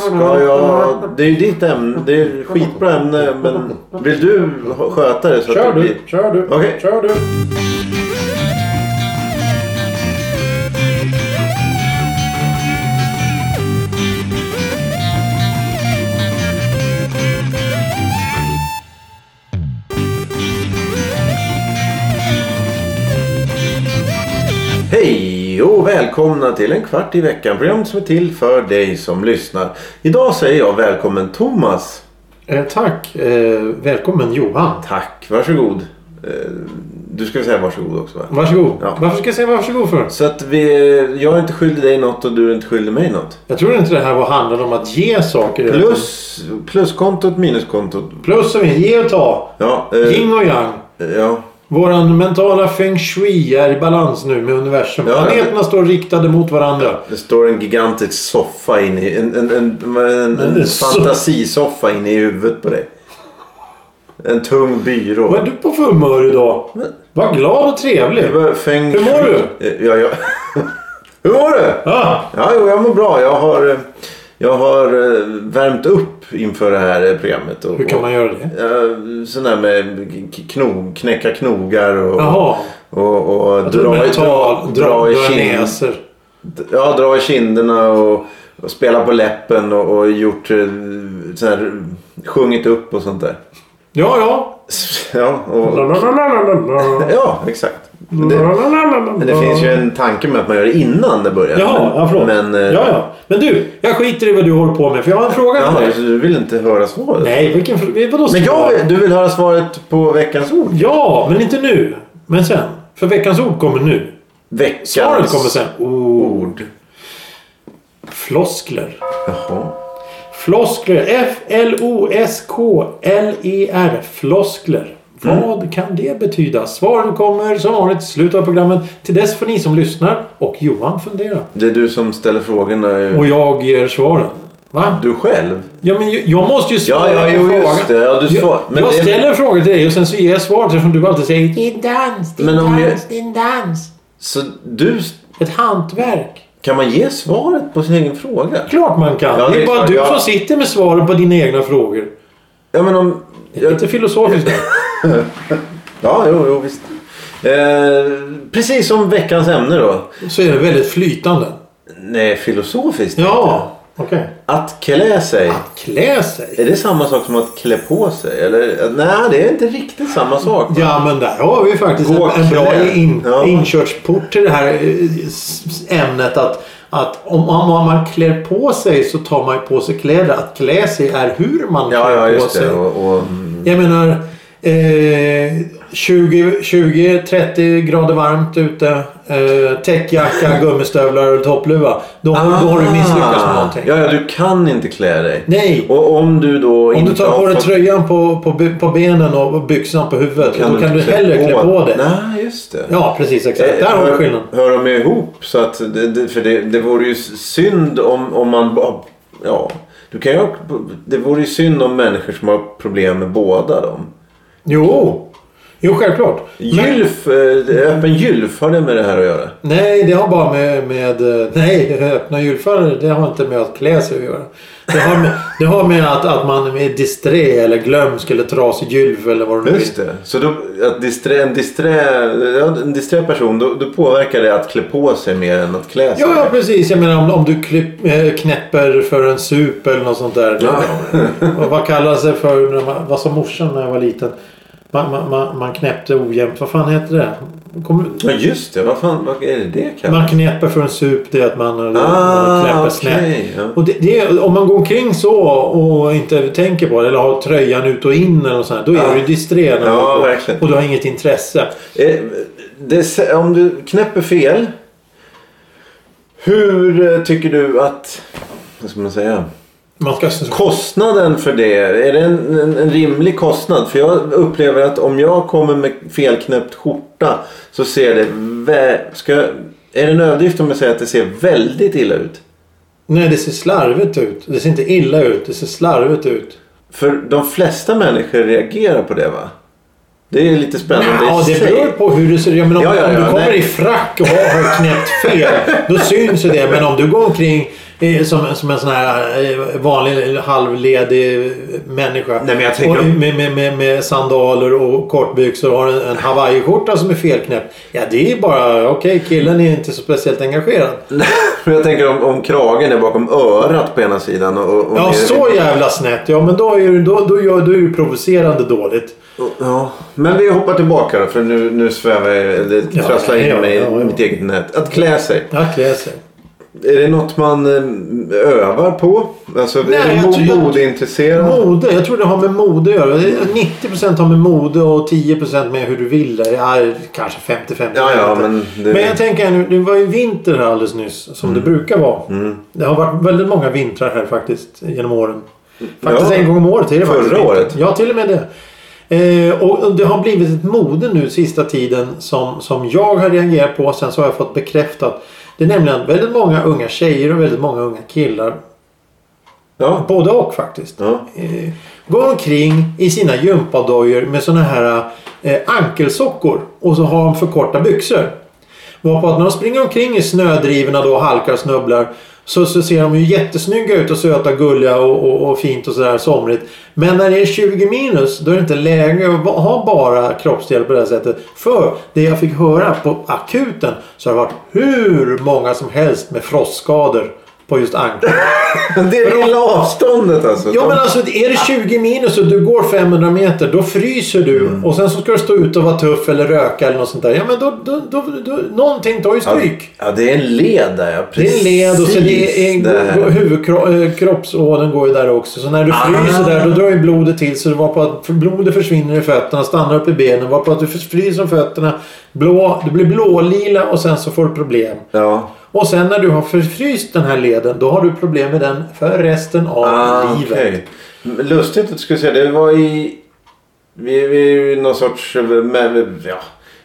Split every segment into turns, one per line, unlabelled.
Ska jag... Det är ju ditt ämne. Det är skitbra ämne men vill du sköta det så
Kör
att
du,
det blir...
kör du,
Okej.
kör du.
Hej och välkomna till en kvart i veckan. Programmet som är till för dig som lyssnar. Idag säger jag välkommen Thomas.
Eh, tack. Eh, välkommen Johan.
Tack, varsågod. Eh, Du ska säga varsågod också va?
Varsågod.
Ja.
Varför ska jag säga varsågod för?
Så att vi, jag är inte skyldig dig något och du är inte skyldig mig något.
Jag tror inte det här var handlade om att ge saker.
Plus, pluskontot, minuskontot.
Plus och minus. Ge och ta.
Ja, eh,
Yin och yang.
ja,
Våran mentala feng shui är i balans nu med universum.
Ja, ja.
Planeterna står riktade mot varandra.
det står en gigantisk soffa inne i... En, en, en, en, en,
En
en
so-
fantasisoffa inne i huvudet på dig. En tung byrå.
Vad är du på för humör idag? Var glad och trevlig.
Fäng...
Hur mår du?
Eh, Ja, ja. Hur mår du?
Ah,
Ja, jo, jag mår bra. Jag har, eh, jag har eh, värmt upp inför det här eh, programmet. Och,
hur kan man göra det?
Eh, Sån där med k- knog, knäcka knogar och,
Jaha.
och, och
Jag tror
dra, i-
mental, dra, dra,
i
dra
kind,
näser.
ja, dra i kinderna och, och spela på läppen och, och gjort eh, sån här, sjungit upp och sånt där.
Ja, ja.
Ja, och, ja exakt. Det, men
Men
det finns ju en tanke med att man gör det innan det börjar.
Ja, ja förlåt.
Men, eh,
ja, ja. men du, jag skiter i vad du håller på med för jag har en fråga till
Jaha,
dig.
så du vill inte höra svaret?
Nej, vilken fråga? Vadå
Men jag,
svar?
vill- du vill höra svaret på veckans ord?
Ja, men inte nu. Men sen. För veckans ord kommer nu.
Veckans
Svaret kommer sen. Oh,
ord.
Floskler.
Jaha.
Floskler. F-L-O-S-K-L-E-R. E Floskler.
Mm.
Vad kan det betyda? Svaren kommer som vanligt i slutet av programmet. Till dess får ni som lyssnar och Johan fundera.
Det är du som ställer frågorna. ju.
Och jag ger svaren. Va?
Du själv?
Ja, men ju- jag måste ju svara
Ja, ja, jo,
på
just
frågan.
det. Ja, du
Jag-
svar- men
jag
det-
ställer frågor till dig och sen så ger jag svar eftersom du alltid säger Din dans, din
Men om jag-
dans, din dans.
Så du...
Ett hantverk.
Kan man ge svaret på sin egen fråga?
Klart man kan.
Ja,
det,
det
är
är
bara
klart,
du
ja.
som sitter med svaren på dina egna frågor.
Ja, men om... Jag,
Lite filosofiskt. där.
ja, jo, jo, visst. Eh, precis som veckans ämne då.
så är det väldigt flytande.
Nej, filosofiskt.
Ja, okej.
Att klä sig.
Att klä sig.
Är det samma sak som att klä på sig? Eller, nej, det är inte riktigt samma sak.
Ja, men där har vi faktiskt en,
Gå
en bra
klä.
in,
Ja.
inkörsport till det här eh, s- s- ämnet. Att, att om, om man klär på sig så tar man ju på sig kläder. Att klä sig är hur man
Ja,
klär
ja,
på
just
sig.
det. Och, och,
Jag menar eh, 20, 20, 30 grader varmt ute. Eh, täckjacka, gummistövlar och toppluva. Då, då har du misslyckats med någonting.
Ah. Ja, ja, du kan inte klä dig.
Nej.
Och om du då
Om
inte
du tar på
har
dig
fått-
tröjan på, på, by- på benen och byxorna på huvudet. då kan du
inte
hellre klä på dig.
Nej, just det.
Ja, precis. Exakt.
Eh,
Där har du
hör-
skillnaden.
Hör de ju ihop. Så att det, det, för det, det vore ju synd om, om man... bara- Ja, du kan ju, ha- det vore ju synd om människor som har problem med båda dem.
Jo. Jo, självklart. Men,
Gylf, eh, öppen gylf, har det med det här att göra?
nej, det har bara med... med eh, nej, öppna julfärger. Det har inte med att klä sig att göra. Det har med, det har med att, att man är disträ eller glömsk eller trasig gylf eller vad det nu är.
Just det. Så då, att disträ, en, disträ, ja, en disträ person, då, då påverkar det att klä på sig mer än att klä sig.
Ja, ja, precis. Jag menar om, om du klipp, eh, knäpper för en sup eller något sånt där.
Ja.
Vad- vad kallas det för? när man- Vad sa morsan när jag var liten? Man, man, man, man knäppte ojämnt. Vad fan heter det? Kom,
Ja, just det. Vad fan vad är det det kallas?
man knäpper för en sup. Det är att man, man
Ah,
knäpper
okej.
snett.
ja.
Och det, det, är- om man går omkring så och inte tänker på det eller har tröjan ut och in eller något sånt här, då är
Ja.
du disträ. när du
Ja,
går på.
verkligen.
Och du har inget intresse.
Eh, det, sä- om du knäpper fel. Hur eh, tycker du att... Vad ska man säga?
Man ska...
Kostnaden för det. Är det en, en, en rimlig kostnad? För jag upplever att om jag kommer med felknäppt skjorta så ser det... Vä- ska, jag- är det en överdrift om jag säger att det ser väldigt illa ut?
Nej, det ser slarvigt ut. Det ser inte illa ut. Det ser slarvigt ut.
För de flesta människor reagerar på det va? Det är lite spännande
Ja,
i
det
sig.
beror på hur du ser ut. Ja, men om,
Ja, ja,
om du
ja,
kommer
nej.
i frack och har har knäppt fel, då syns ju det. Men om du går omkring eh, som, som en sån här eh, vanlig halvledig människa.
Nej, men jag tänker-
och, med, med, med, med sandaler och kortbyxor och har en, en hawaiiskjorta som är felknäppt. Ja, det är bara okej, killen är inte så speciellt engagerad.
För jag tänker om, om kragen är bakom örat på ena sidan. Och, och
Ja,
ner-
så jävla snett. Ja, men då är du, då, då, gör- då är du provocerande dåligt.
Ja, men vi hoppar tillbaka då för nu, nu svävar jag, det
Ja,
trasslar in
ja,
mig i
ja, ja.
mitt eget nät. Att klä sig.
Ja, klä sig.
Är det något man eh, övar på? Alltså
Nej, jag
är du
tror-
mo- modeintresserad?
Mode, jag tror det har med mode att göra. 90% har med mode och 10% med hur du vill. Det är kanske 50-50.
Ja, ja, men det- Mm.
men jag tänker nu, det var ju vinter här alldeles nyss. Som det brukar vara. Det har varit väldigt många vintrar här faktiskt genom åren. Faktiskt
Ja.
en gång om året är det
Förra
faktiskt vinter.
året.
Ja, till och med det. Eh, och och det har blivit ett mode nu sista tiden som, som jag har reagerat på. Sen så har jag fått bekräftat. Det är nämligen att väldigt många unga tjejer och väldigt många unga killar.
Ja.
Både och faktiskt
ja.
eh, går omkring i sina gympadojor med såna här eh, ankelsockor och så har de för korta byxor. Varpå att när de springer omkring i snödrivorna då och halkar och snubblar så, så ser de ju jättesnygga ut och söta och gulliga och, och, och fint och sådär somrigt. Men när det är 20 minus då är det inte läge att ba- ha bara kroppsdelar på det här sättet. För det jag fick höra på akuten så har det varit hur många som helst med frostskador på just ankeln.
Det är det lilla avståndet alltså.
Ja men alltså är det 20 minus och du går 500 meter då fryser du
Mm.
och sen så ska du stå ute och vara tuff eller röka eller något sånt där. Ja men då, då, då, då någonting tar ju
ja,
stryk.
ja, det är en led där
Det
ja.
är
Precis
en led och så det är,
där.
är huvudkroppsådern eh, går ju där också. Så när du fryser
Ah.
där då drar ju blodet till så det var på att blodet försvinner i fötterna, stannar upp i benen. Var på att du fryser om fötterna, blå, du blir blålila och sen så får du problem.
Ja.
Och sen när du har förfryst den här leden då har du problem med den för resten av
Ah,
livet.
okej. Lustigt att du skulle säga det. Det var i... Vi, vi är ju någon sorts... Med, ja,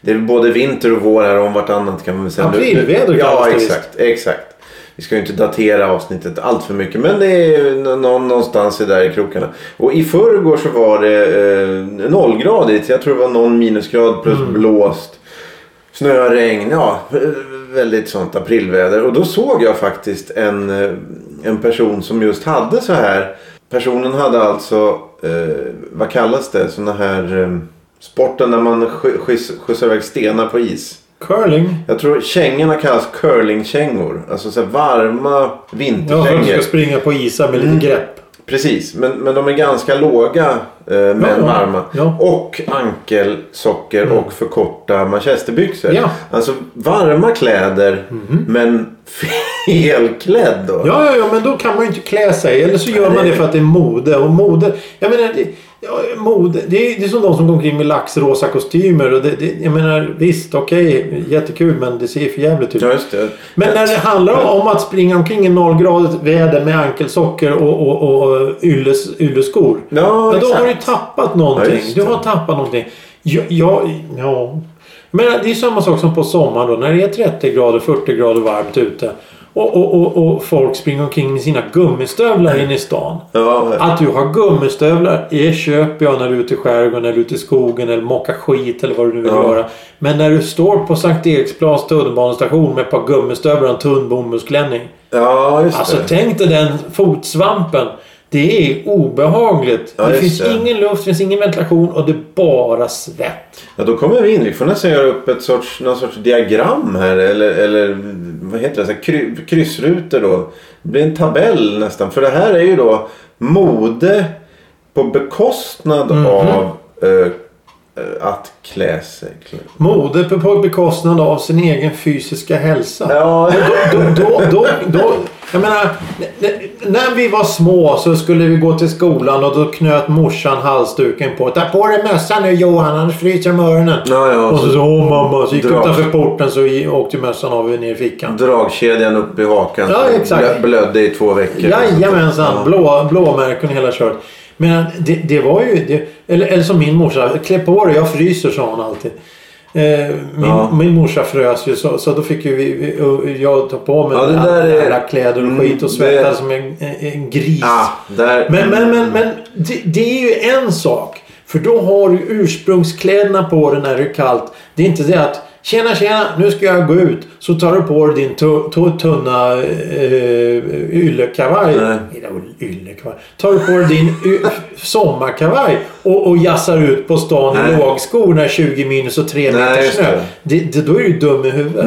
det är både vinter och vår här om vartannat kan man väl säga.
Aprilväder kallas
Ja,
det
exakt. Exakt. Vi ska ju inte datera avsnittet allt för mycket. Men det är ju nå- nå- någonstans i där i krokarna. Och i förrgår så var det eh, nollgradigt. Jag tror det var någon minusgrad plus
Mm.
blåst. Snö, regn, ja. Väldigt sånt aprilväder. Och då såg jag faktiskt en, eh, en person som just hade så här. Personen hade alltså, eh, vad kallas det, såna här eh, sporten när man sk- skjuts- skjutsar iväg stenar på is.
Curling.
Jag tror kängorna kallas curlingkängor. Alltså så här varma
Ja, för att du
vinterkängor.
ska springa på isar med lite grepp.
Precis, men, men de är ganska låga eh, men
ja.
varma.
Ja. Mm.
Och ankelsocker och för korta manchesterbyxor.
Ja. Mhm.
Alltså varma kläder men felklädd då.
Ja, ja, ja, men då kan man ju inte klä sig. Eller så gör man det för att det är mode. Och mode, jag menar, det, ja, mode, det, är, det är som de som går omkring med laxrosa kostymer. Och det, det, jag menar, visst, okej, jättekul, men det ser för jävligt ut.
Ja, just det.
Men när det handlar om att springa omkring i nollgradigt väder med ankelsocker och, och, och, och ylles, ylleskor.
Ja,
Ja, då har du
exakt.
tappat någonting.
Ja, just det.
du har tappat någonting. Ja, ja, ja. Men det är samma sak som på sommaren då. När det är 30 grader, 40 grader varmt ute. Och, och, och, och folk springer omkring med sina gummistövlar inne i stan.
Ja,
Att du har gummistövlar, det köper jag när du är ute i skärgården, när du är ute i skogen eller mockar skit eller vad du nu vill
Ja.
göra. Men när du står på Sankt Eriksplans tunnelbanestation med ett par gummistövlar och en tunn bomullsklänning.
ja just
Alltså
det.
tänk dig den fotsvampen. Det är obehagligt.
Ja,
det
just
finns
det.
ingen luft, det finns ingen ventilation och det är bara svett.
Ja, då kommer vi in. Vi får nästan göra upp ett sorts, någon sorts diagram här. Eller, eller vad heter det? Så här, kry, kryssrutor då. Det blir en tabell nästan. För det här är ju då mode på bekostnad
Mhm.
av eh, eh, att klä sig.
Mode på- på bekostnad av sin egen fysiska hälsa.
Ja,
Då, då, då, då, jag menar, n- n- när vi var små så skulle vi gå till skolan och då knöt morsan halsduken på. Ta på dig mössan nu Johan, annars fryser de öronen.
ja, ja.
Och så sa åh mamma, så gick jag
Dra.
utanför porten så i- åkte mössan av ner i fickan.
Dragkedjan upp i hakan.
Ja,
som
exakt.
blö- Blödde i två veckor.
Jajamensan, blå, blåmärken och hela köret. Men det, det var ju... Det, eller, eller som min morsa, klä på dig, jag fryser sa hon alltid. Eh, min,
Ja.
min morsa frös ju så, så då fick ju vi, vi, och jag ta på mig
Ja, det
alla,
där är-
alla kläder och
Mm,
skit och svettades
det- Ah.
som en, en gris.
Ja, där.
Men, men, men, men det, det är ju en sak. För då har du ursprungskläderna på dig när det är kallt. Det är inte det att Tjena tjena, nu ska jag gå ut. Så tar du på dig din tu- tu- tunna eh, yllekavaj.
Nej.
Eller Yllekavaj. Tar du på dig din y- sommarkavaj och, och jassar ut på stan i
Nej.
lågskor när 20 minus och 3
Nej,
meter
just
snö.
det. Mm,
Det, det, då är du ju dum i huvudet.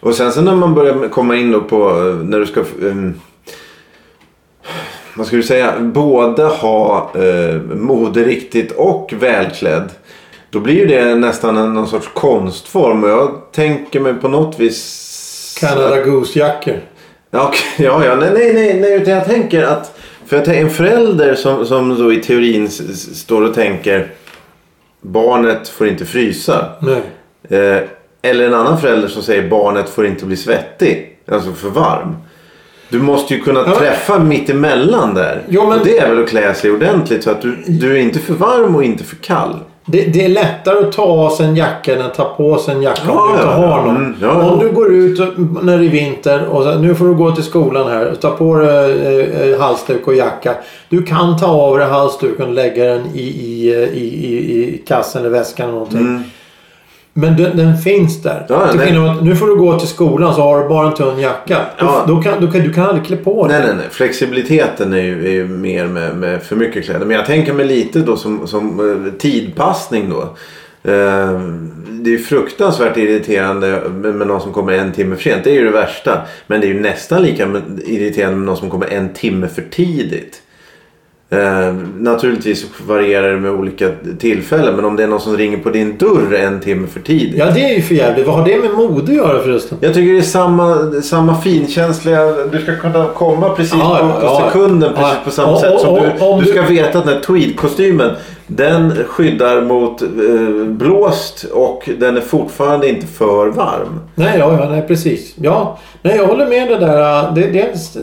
Och sen så när man börjar komma in då på eh, när du ska... ehm, vad ska du säga? Både ha eh, moderiktigt och välklädd. Då blir ju det nästan en, någon sorts konstform. Och jag tänker mig på något vis...
Canada Goose-jackor.
Ja, okej. ja, ja. Nej, nej, nej, nej. Utan jag tänker att... För jag tänker, en förälder som, som då i teorin s- s- står och tänker barnet får inte frysa.
Nej.
Eh, eller en annan förälder som säger barnet får inte bli svettig. Alltså för varm. Du måste ju kunna
men-
träffa mitt emellan där.
Jo, men-
Och det är väl att klä sig ordentligt så att du, du är inte för varm och inte för kall.
Det, det är lättare att ta av sig en jacka än att ta på sig en jacka om
Ja,
du inte
ja,
har
ja.
någon.
Mm, ja, ja.
Om du går ut och- när det är vinter och så, nu får du gå till skolan här och ta på dig eh, eh, halsduk och jacka. Du kan ta av dig halsduken och lägga den i, i, eh, i, i, i kassen eller väskan eller någonting. Men den, den finns där.
Mm. Ja,
till
nej.
skillnad från att nu får du gå till skolan så har du bara en tunn jacka.
Ja.
Då, då kan, då kan, du kan aldrig klä på dig.
Nej, nej, nej. Flexibiliteten är ju, är ju mer med, med för mycket kläder. Men jag tänker mig lite då som, som eh, tidpassning då. Eh, Det är ju fruktansvärt irriterande med med någon som kommer en timme för sent. Det är ju det värsta. Men det är ju nästan lika med- irriterande med någon som kommer en timme för tidigt. Eh, naturligtvis varierar det med olika tillfällen. Men om det är någon som ringer på din dörr en timme för tidigt.
Ja, det är ju för jävligt. Vad har det med mode att göra förresten?
Jag tycker det är samma, samma finkänsliga. Du ska kunna komma precis
Ja,
på,
ja,
på
ja.
sekunden. Precis
Ja.
på samma
Och-
sätt som
och-
du,
om
du
du-
ska veta att den här tweedkostymen. Den skyddar mot eh, blåst och den är fortfarande inte för varm.
Nej, ja, ja, nej precis. Ja, nej, jag håller med det där. äh, Det, dels,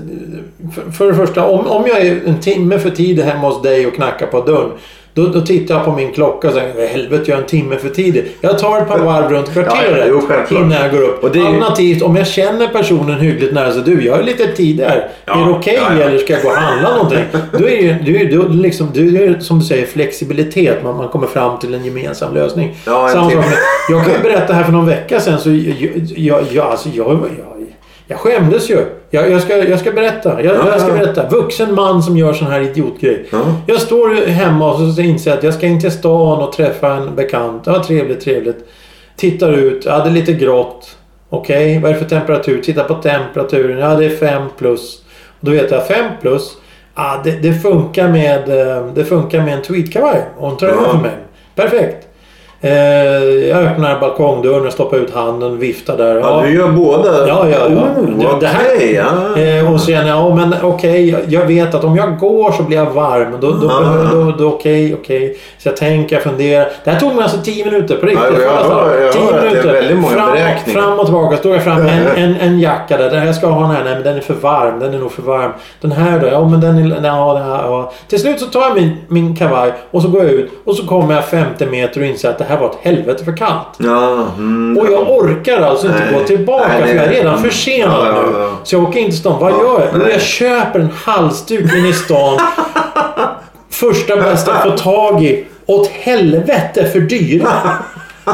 för, för det första, om, om jag är en timme för tidig hemma hos dig och knackar på dörren. Då, då tittar jag på min klocka och säger "Vad i helvete jag är en timme för tidig. Jag tar ett par varv runt
Ja, ja,
kvarteret
jo, självklart.
innan jag går upp.
Och det är ju-
Alternativt om jag känner personen hyggligt nära så du, jag är lite tidigare.
Ja,
är det okej
ja, ja.
eller ska jag gå och handla någonting? Då är ju- det är ju då liksom, det är ju som du säger flexibilitet. Man, man kommer fram till en gemensam lösning.
Ja, en
Samma
timme.
sak med- jag kan ju berätta här för någon vecka sedan så jag, jag, jag, alltså jag, jag, jag skämdes ju. Jag, jag, ska, jag ska berätta. Jag,
Ja,
jag ska
ja.
berätta. Vuxen man som gör sån här idiotgrej.
Ja.
Jag står hemma och så inser jag att jag ska in till stan och träffa en bekant. Ja, trevligt, trevligt. Tittar ut. Ja, det är lite grått. Okej, vad är det för temperatur? Titta på temperaturen. Ja, det är 5 plus. Och då vet jag 5 plus. Ja, det, det, funkar med, eh, det funkar med en tweedkavaj och en tröja
Ja.
för mig. Perfekt. Eh, jag öppnar balkongdörren och stoppar ut handen, viftar där.
Ja, du gör båda?
Ja, ja, ja. Det-
Oh,
det här-
okej, ja.
Eh, och så känner jag, ja, men okej, jag, jag vet att om jag går så blir jag varm. Då, då,
Ja.
då, då, då okej, okej. Så jag tänker, jag funderar. Det här tog mig alltså 10 minuter på riktigt.
Ja, jag
Alltså,
hör- jag
10
hör att det är
minuter.
väldigt många
fram,
beräkningar.
Fram och tillbaka. Står jag fram med en, en, en jacka där. Den här ska jag ha den här. Nej, men den är för varm. Den är nog för varm. Den här då? Ja, men den är... Nej, ja, den här, ja. Till slut så tar jag min, min kavaj och så går jag ut. Och så kommer jag 50 meter och inser att det här var ett helvete för kallt.
ja mm,
Eh. Och jag orkar alltså inte
Nej.
gå tillbaka
Nej,
för
nej,
jag är
nej.
redan
Mm.
försenad
Ja, ja,
nu.
ja.
Så jag åker in till stan. Vad
Ja,
gör jag? Jo,
nej.
jag köper en halsduk in i stan. Första bästa jag får tag i. Åt helvete för dyra.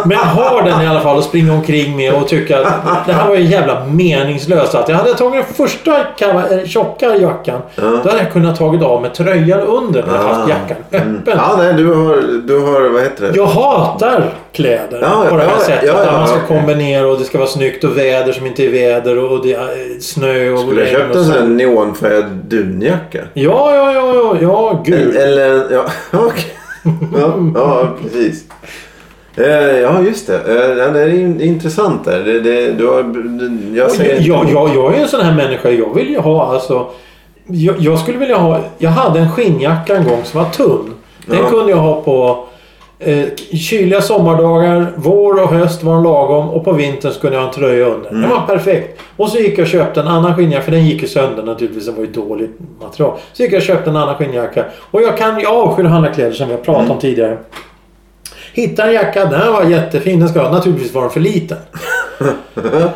Men jag har den i alla fall och springer omkring med och tycker att det här var ju jävla meningslöst. Att jag hade tagit den första kava- eh, tjocka jackan. Då hade jag kunnat tagit av med tröjan under. Men jag har haft
Ja. Mm.
jackan öppen.
ja, nej, du har, du har, vad heter det?
Jag hatar kläder
Ja,
på det här
ja,
sättet.
ja,
där
ja,
man ska
okej.
kombinera och det ska vara snyggt och väder som inte är väder och det är eh, snö och
Skulle jag
regn
köpt
och
en
så.
sån här neonfärgad dunjacka?
Ja, ja, ja, ja, ja, gud.
Eller, ja, okej. ja, ja, precis. Eh, Ja, just det. Eh, ja, Det är in- intressant där. Det, det, du har, du- jag säger inte-
Alltså, Jag, jag, jag är en sån här människa. Jag vill ju ha alltså... Jag, jag skulle vilja ha... Jag hade en skinnjacka en gång som var tunn. Den
Ja.
kunde jag ha på eh, kyliga sommardagar. Vår och höst var den lagom. Och på vintern så kunde jag ha en tröja under.
Mm.
Den var perfekt. Och så gick jag och köpte en annan skinnjacka. För den gick ju sönder naturligtvis. Den var ju dåligt material. Så gick jag och köpte en annan skinnjacka. Och jag kan ju avskyr att handla kläder som vi har pratat
Mm.
om tidigare. Hittade en jacka. Den här var jättefin. Den ska jag ha. Naturligtvis var den för liten.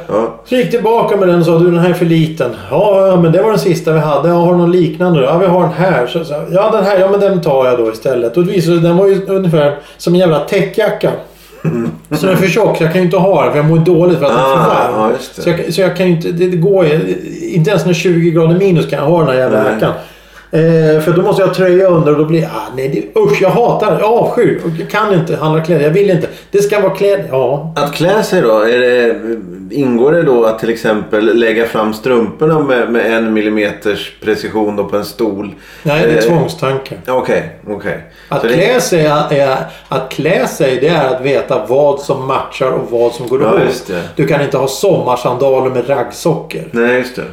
Ja.
Så gick tillbaka med den och sa du den här är för liten. Ja, men det var den sista vi hade. Ja, har du någon liknande då? Ja, vi har den här. Så, så, ja, den här. Ja, men den tar jag då istället. Och det visade sig, den var ju ungefär som en jävla täckjacka. Så den är för tjock så jag kan ju inte ha den för jag mår dåligt för att den är för
Ah,
varm.
ja, just det.
Så, jag, så jag kan ju inte, det, det går ju, inte ens när det är 20 grader minus kan jag ha den här jävla
Nej.
jackan. Eh, för då måste jag tröja under och då blir ah, nej, det, usch jag hatar det. Jag avskyr. Och Jag kan inte handla kläder. Jag vill inte. Det ska vara kläder. Ja.
Att klä sig då, är det, ingår det då att till exempel lägga fram strumporna med, med en millimeters precision då på en stol?
Nej, det är
Eh,
tvångstanken.
Okej, okej.
Att
Så det-
klä, sig är, är, att klä sig det är att veta vad som matchar och vad som går
Ja,
ihop.
just det.
Du kan inte ha sommarsandaler med raggsockor.
Nej, just det.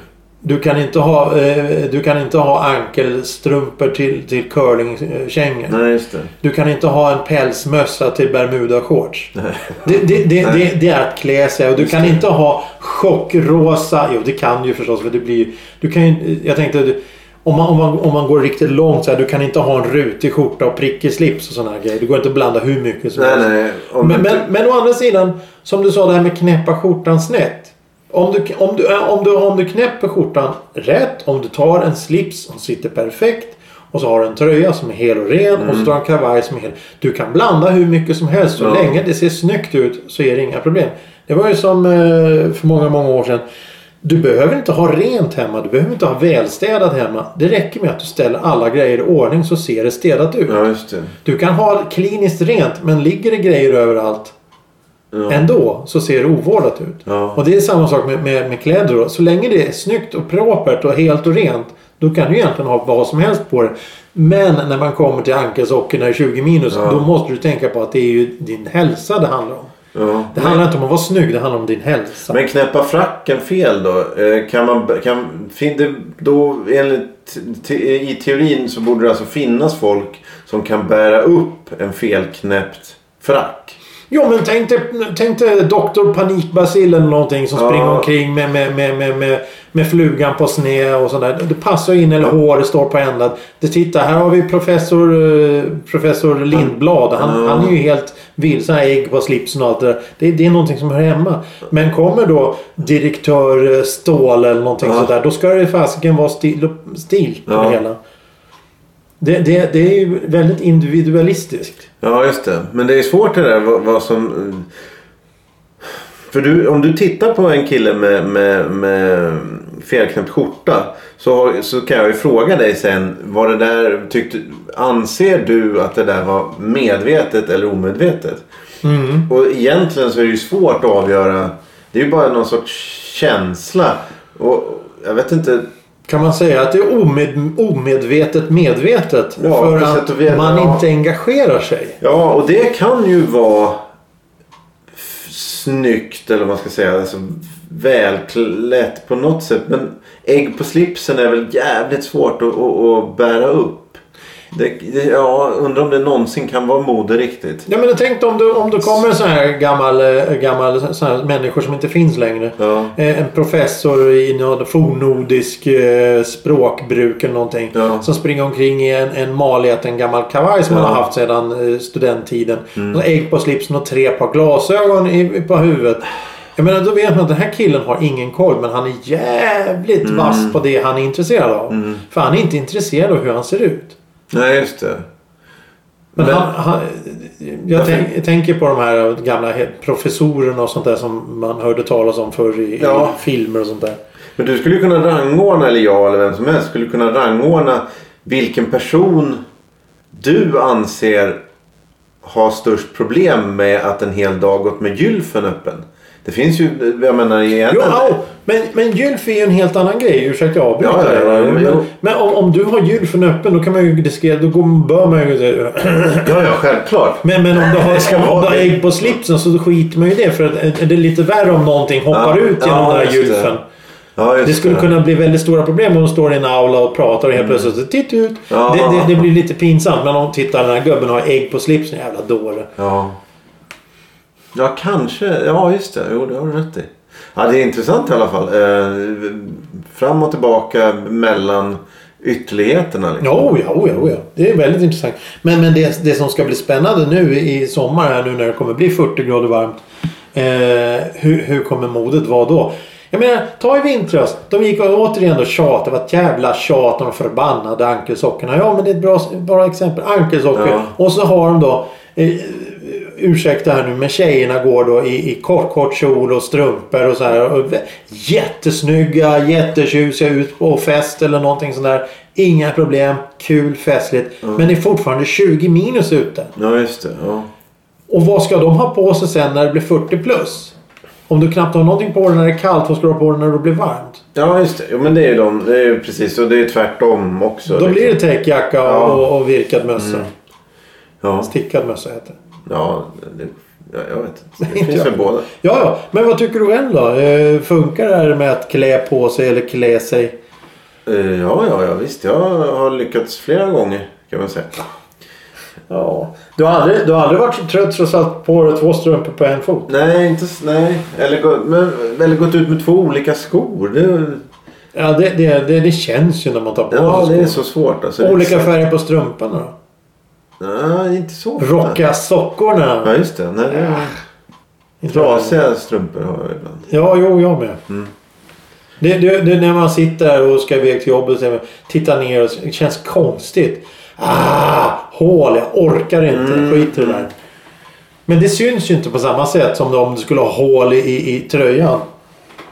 Du kan inte ha, eh, du kan inte ha ankelstrumpor till, till curlingkängor.
Nej, just det.
Du kan inte ha en pälsmössa till bermudashorts. Det, det, det, det, det är att klä sig. Och du kan inte ha chockrosa. Jo, det kan du ju förstås. För det blir, ju- du kan ju, jag tänkte... du- Om man, om, man, om man går riktigt långt så här. Du kan inte ha en rutig skjorta och prickig slips och sådana här grejer. Det går inte att blanda hur mycket som
Nej,
helst.
nej. Om
Men,
du
men,
inte-
men å andra sidan, som du sa det här med knäppa skjortan snett. Om du, om, du, äh, om, du, om du knäpper skjortan rätt, om du tar en slips som sitter perfekt och så har du en tröja som är hel och ren och så tar du en kavaj som är hel. Du kan blanda hur mycket som helst. Så
Mm. Ja.
länge det ser snyggt ut så är det inga problem. Det var ju som eh, för många, många år sedan. Du behöver inte ha rent hemma. Du behöver inte ha välstädat hemma. Det räcker med att du ställer alla grejer i ordning så ser det städat ut.
Ja, just det.
Du kan ha kliniskt rent men ligger det grejer överallt
Ja.
ändå så ser det ovårdat ut.
Ja.
Och det är samma sak med, med, med kläder. Då. Så länge det är snyggt och propert och helt och rent då kan du egentligen ha vad som helst på det. Men när man kommer till ankelsockorna i 20 minus
Ja.
då måste du tänka på att det är ju din hälsa det handlar om.
Ja.
Det handlar inte om att vara snygg, det handlar om din hälsa.
Men knäppa fracken fel då? eh, Kan man, kan, fin, det, då enligt, te- I teorin så borde det alltså finnas folk som kan bära upp en felknäppt frack.
Jo men tänk dig, tänk dig Dr. Panikbasil eller någonting som
Ja.
springer omkring med, med, med, med, med, med flugan på sne och sådär. Det passar in eller håret står på ändan. Det titta, här har vi professor, eh, professor Lindblad. Han,
Ja.
han är ju helt vilsen. Han har ägg på slipsen och allt det där. Det, det är någonting som hör hemma. Men kommer då direktör eh, Ståhl eller någonting
Ja.
sådär. Då ska det fasiken vara stil, stil på
Ja.
det hela. Det, det, det är ju väldigt individualistiskt.
Ja, just det. Men det är svårt det där vad, vad som... eh, För du, om du tittar på en kille med, med, med felknäppt skjorta så, har- så kan jag ju fråga dig sen. Var det där, tyckte, anser du att det där var medvetet eller omedvetet? Och egentligen så är det ju svårt att avgöra. Det är ju bara någon sorts känsla. Och jag vet inte.
Kan man säga att det är omed, omedvetet medvetet?
Ja,
för
på
att
sätt och vis,
man
ja.
inte engagerar sig.
Ja, och det kan ju vara f- snyggt eller vad man ska säga. Alltså, välklätt på något sätt. Men ägg på slipsen är väl jävligt svårt att, att, att bära upp. Det, det, ja, undrar om det någonsin kan vara mode riktigt.
Ja, men jag tänkte om du, om du kommer en sån här gammal, eh, gammal sån här människor som inte finns längre.
Ja.
Eh, En professor i någon fornnordisk eh, språkbruk eller någonting.
Ja.
Som springer omkring i en, en malet, en gammal kavaj som han
Ja. Mm.
har haft sedan eh, studenttiden. Och ägg på slipsen och tre par glasögon i, i- på huvudet. Jag menar, då vet man att den här killen har ingen koll men han är jävligt
Mm.
vass på det han är intresserad av. För han är inte intresserad av hur han ser ut.
Nej, just det.
Men
Men-
han, han, jag, tänk, jag tänker på de här gamla he- professorerna och sånt där som man hörde talas om förr i,
Ja.
i filmer och sånt där.
Men du skulle ju kunna rangordna, eller jag eller vem som helst skulle kunna rangordna vilken person du anser har störst problem med att en hel dag gått med gylfen öppen. Det finns ju, jag menar
Jo,
egentligen...
au, men, men gylf är ju en helt annan grej. Ursäkta jag avbryter
Ja, ja, ja,
dig.
jo, jo.
Men, men om, om du har gylfen öppen då kan man ju diskret, då går- bör man ju...
Ja, ja, självklart.
Men, men om du har,
Det ska
om du
vara
har
det.
ägg på slipsen så skiter man ju i det. För att, eh, det är lite värre om någonting hoppar
Ja,
ut genom
ja,
den här
just det.
gylfen.
Ja, just
Det skulle
det. Mm.
kunna bli väldigt stora problem om de står i en aula och pratar och helt plötsligt så titt ut.
Ja.
Det, det, det blir lite pinsamt. Men om tittar den här gubben har ägg på slipsen, jävla dåre.
Ja. Ja, kanske. Ja, just det. Jo, det har du rätt i. Ja, det är intressant i alla fall. Eh, fram och tillbaka mellan ytterligheterna. Liksom.
Ja, oh ja, oh ja, oh ja. Det är väldigt intressant. Men, men det, det som ska bli spännande nu i sommar här nu när det kommer bli 40 grader varmt. Eh, hur, hur kommer modet vara då? Jag menar, ta i vintras. De gick och återigen och tjatade. Det var ett jävla tjat om de förbannade ankelsockorna. Ja, men det är ett bra, bra exempel. Ankelsockor.
Ja.
Och så har de då... Eh, ursäkta här nu, men tjejerna går då i, i kort, kort kjol och strumpor och så här. Och vä- jättesnygga, jättetjusiga ut på fest eller någonting sånt där. Inga problem. Kul, festligt.
Mm.
Men det är fortfarande 20 minus ute.
Ja, just det. Ja.
Och vad ska de ha på sig sen när det blir 40 plus? Om du knappt har någonting på dig när det är kallt, vad ska du ha på dig när det blir varmt?
Ja, just det. Jo, men det är ju de. Det är ju precis. Och det är tvärtom också.
Då
liksom.
blir det täckjacka och,
Ja. Mm.
och, och virkad mössa.
Ja,
Stickad mössa heter det.
ja det, ja, jag vet inte. Det
Inte jag.
finns väl båda.
Ja, ja. Men vad tycker du själv då? Eh, funkar det här med att klä på sig eller klä sig?
Eh, Ja, ja, ja, visst. Jag har lyckats flera gånger kan man säga.
Ja. Du har aldrig, du har aldrig varit så trött så du satt på dig två strumpor på en fot?
Nej, inte s- nej. Eller, gå- men, eller gått ut med två olika skor. Det,
Ja, det, det, det, det känns ju när man tar på
ja,
sig
det är
skor.
så svårt. Alltså.
Olika färger på strumporna då?
Nej, inte så ofta.
Rocka sockorna?
Ja, just det. Nej, det
Ah.
är...
Inte jag.
Trasiga strumpor har jag ibland.
Ja, jo, jag med.
Mm.
Det, det, det är när man sitter där och ska iväg till jobbet och tittar ner och det känns konstigt. Ah, hål, jag orkar inte.
Mm.
Skit i det där. Men det syns ju inte på samma sätt som om du skulle ha hål i, i, i tröjan.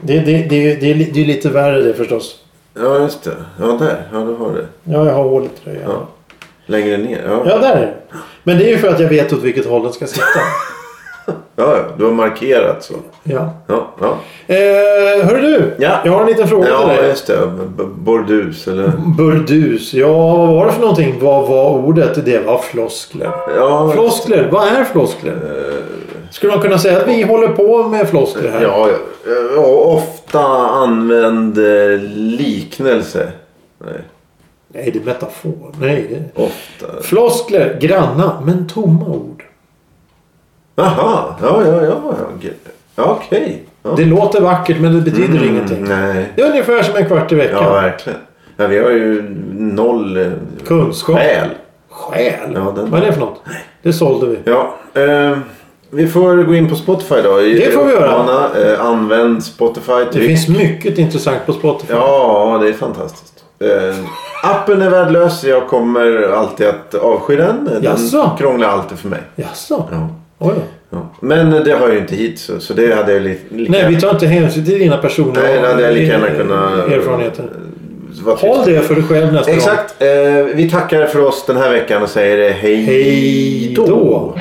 Det, det, det, det, det, är li- det är lite värre det förstås.
Ja, just det. Ja, där. Ja, du har det.
Ja, jag har hål i tröjan.
Ja. Längre ner. Ja, ja.
Ja, där är det. Men det är ju för att jag vet åt vilket håll den ska sitta.
ja du har markerat så.
ja.
Ja, ja.
Eh, hörru du,
Ja.
jag har en liten fråga till dig.
ja just det. B- b- Bordus eller...
Mm. Burdus. Ja, vad var det för någonting? Vad var ordet? Det var floskler.
Ja,
Floskler, vad är floskler? Skulle man kunna säga att vi håller på med floskler här?
ja, ja. Och ofta använd eh, liknelse. Nej,
Nej, det är metafor. Nej, det...
ofta.
Floskler, granna, men tomma ord.
Aha, ja, ja, ja. Okej. Ja, okej. Ja.
Det låter vackert men det betyder ingenting.
Nej.
Det är ungefär som en kvart i veckan.
Mm. Ja, verkligen. Ja, vi har ju noll eh,
Kunskap.
själ.
Själ?
Ja, den-
Vad är det för något? Det sålde vi.
Ja, eh, vi får gå in på Spotify då.
Det får vi göra.
Uppmana, eh, använd Spotify.
Det finns mycket intressant på Spotify.
Ja, det är fantastiskt. Eh, appen är värdelös. Jag kommer alltid att avsky den. Den
Jaså?
krånglar alltid för mig.
Jaså?
Ja,
Oj då.
ja. Men det hör ju inte hit så, så det hade jag li- lika
Nej, vi tar inte hänsyn till dina personer
Nej, det hade jag lika gärna kunnat...
erfarenheter.
Vad tyst.
Håll det för dig själv nästa gång.
Exakt. Eh, vi tackar för oss den här veckan och säger eh, hej
Hej då!